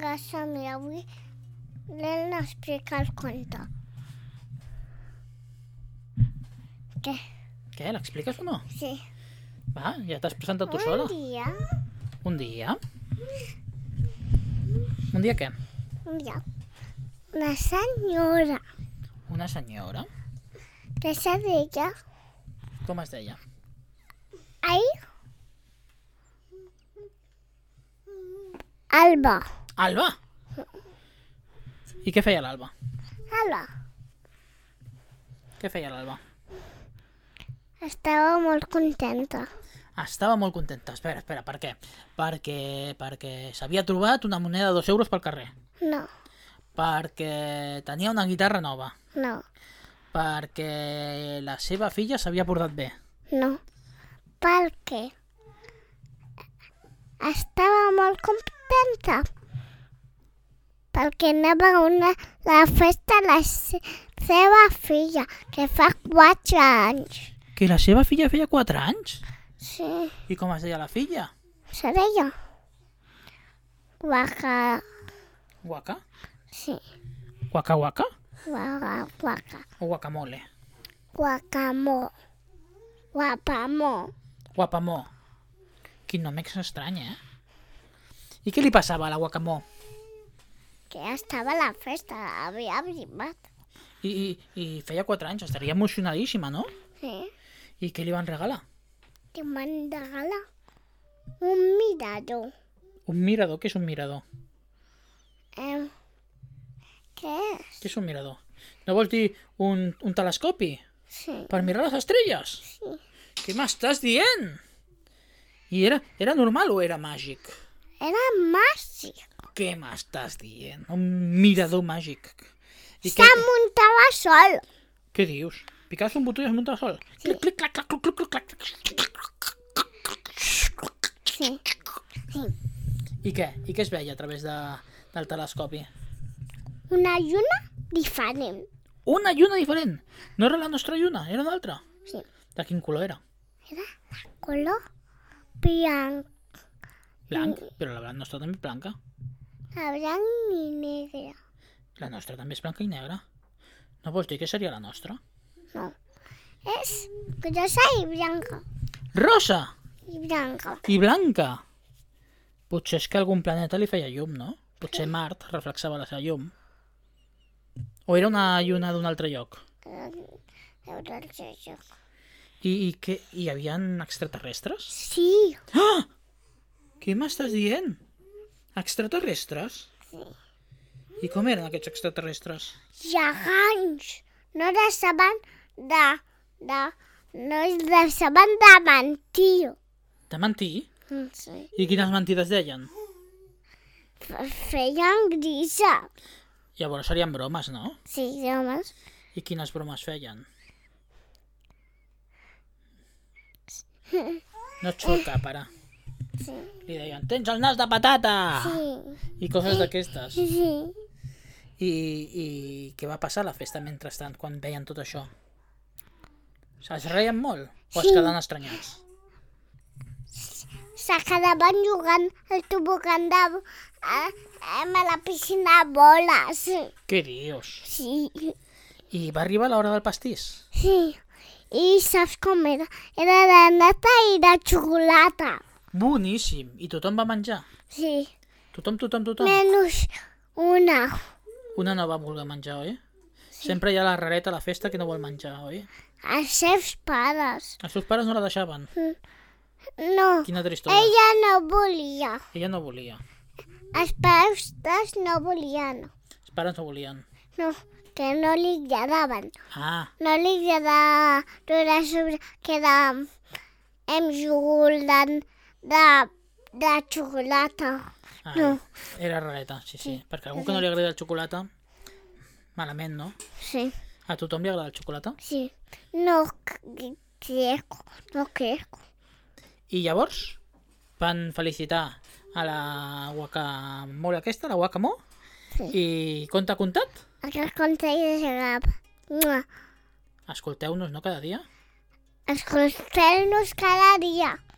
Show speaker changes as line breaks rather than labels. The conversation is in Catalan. massa a mi. Avui l'Elna explica el conte. Què?
Què, l'expliques o no?
Sí.
Va, ja t'has presentat tu sola.
Un dia,
Un dia. Un dia què?
un dia, una senyora,
Una senyora.
que s'ha d'ella,
Com es deia?
ahir, Alba.
Alba! I què feia l'Alba?
Alba.
Què feia l'Alba?
Estava molt contenta.
Estava molt contenta. Espera, espera, per què? Perquè, perquè s'havia trobat una moneda de 2 euros pel carrer.
No,
Perquè tenia una guitarra nova.
no,
Perquè la seva filla s'havia portat bé.
no. Perquè estava molt contenta. Perquè anava a una, la festa de la se- seva filla, que fa 4 anys.
Que la seva filla feia 4 anys?
Sí,
I com es deia la filla?
se deia. Guaca,
Guaca?
sí,
Guaca guaca?
guaca, guaca.
O guacamole?
Guacamó. Guapamó.
Guapamó. Quin nom és estrany, eh? I què li passava a la guacamó?
Que ja estava a la festa, havia arribat.
I, i, i feia 4 anys, estaria emocionadíssima, no?
Sí.
I què li van regalar?
Te van regalar un mirador.
Un mirador, què és un mirador?
Eh, què és?
Què és un mirador? No vols dir un, un telescopi?
Sí.
Per mirar les estrelles?
sí.
Què m'estàs dient? I era, era normal o era màgic?
Era màgic.
Què m'estàs dient? Un mirador màgic. I
Se muntava sol.
Què dius? Picaves un botó i es munta sol. Clic, clic, clac, clac, cluc, cluc, clac, clac.
Sí. sí.
I què? I què es veia a través de, del telescopi?
Una lluna diferent.
Una lluna diferent! No era la nostra lluna, era una altra.
Sí.
De quin color era?
Era de color blanc.
Blanc, però la nostra també és blanca.
De blanc i negre.
La nostra també és blanca i negra. No vols dir que seria la nostra?
No. És grossa i blanca.
Rosa!
I blanca.
I blanca! Potser és que algun planeta li feia llum, no? Potser Mart reflexava la seva llum. O era una lluna d'un altre lloc?
Eh, Veure el joc.
I, i què? Hi havien extraterrestres?
Sí.
Ah! Què m'estàs dient? Extraterrestres?
Sí.
I com eren aquests extraterrestres?
gegants. No deixaven de... de no es deixaven de mentir.
De mentir?
Mm, Sí.
I quines mentides deien?
F- Feien grisa.
Llavors serien bromes, no?
Sí, homes.
I quines bromes feien? No et surt cap, ara.
Sí.
Li deien, tens el nas de patata!
Sí.
I coses d'aquestes.
sí.
I, I què va passar a la festa mentrestant, quan veien tot això? Es reien molt? O es
Sí.
quedaven estranyats?
Se quedaven jugant al tobogan de... A, a la piscina de boles.
Què dius?
Sí.
I va arribar l'hora del pastís.
Sí. I saps com era? Era de nata i de xocolata.
Boníssim. I tothom va menjar.
Sí.
Tothom, tothom, tothom.
Menys una.
Una no va voler menjar, oi? Sempre hi ha la rareta a la festa que no vol menjar, oi?
Els seus pares.
Els seus pares no la deixaven.
No.
Quina tristona. Ella,
Ella no volia.
Ella no volia.
Els pares no volien.
Els pares no volien.
No, que no li agradaven.
Ah,
No li agradava no era sobre que de, hem jugat de, de xocolata.
ah
No.
era rareta, sí, sí. Perquè a algú que no li agrada el xocolata, malament, no?
Sí,
A tothom li agrada el xocolata.
sí. No c- crec, no crec.
I llavors van felicitar a la guacamole aquesta, la guacamó,
Sí.
i conte comptat,
Aquest consell de Segap.
escolteu-nos, no, cada dia?
Escolteu-nos cada dia.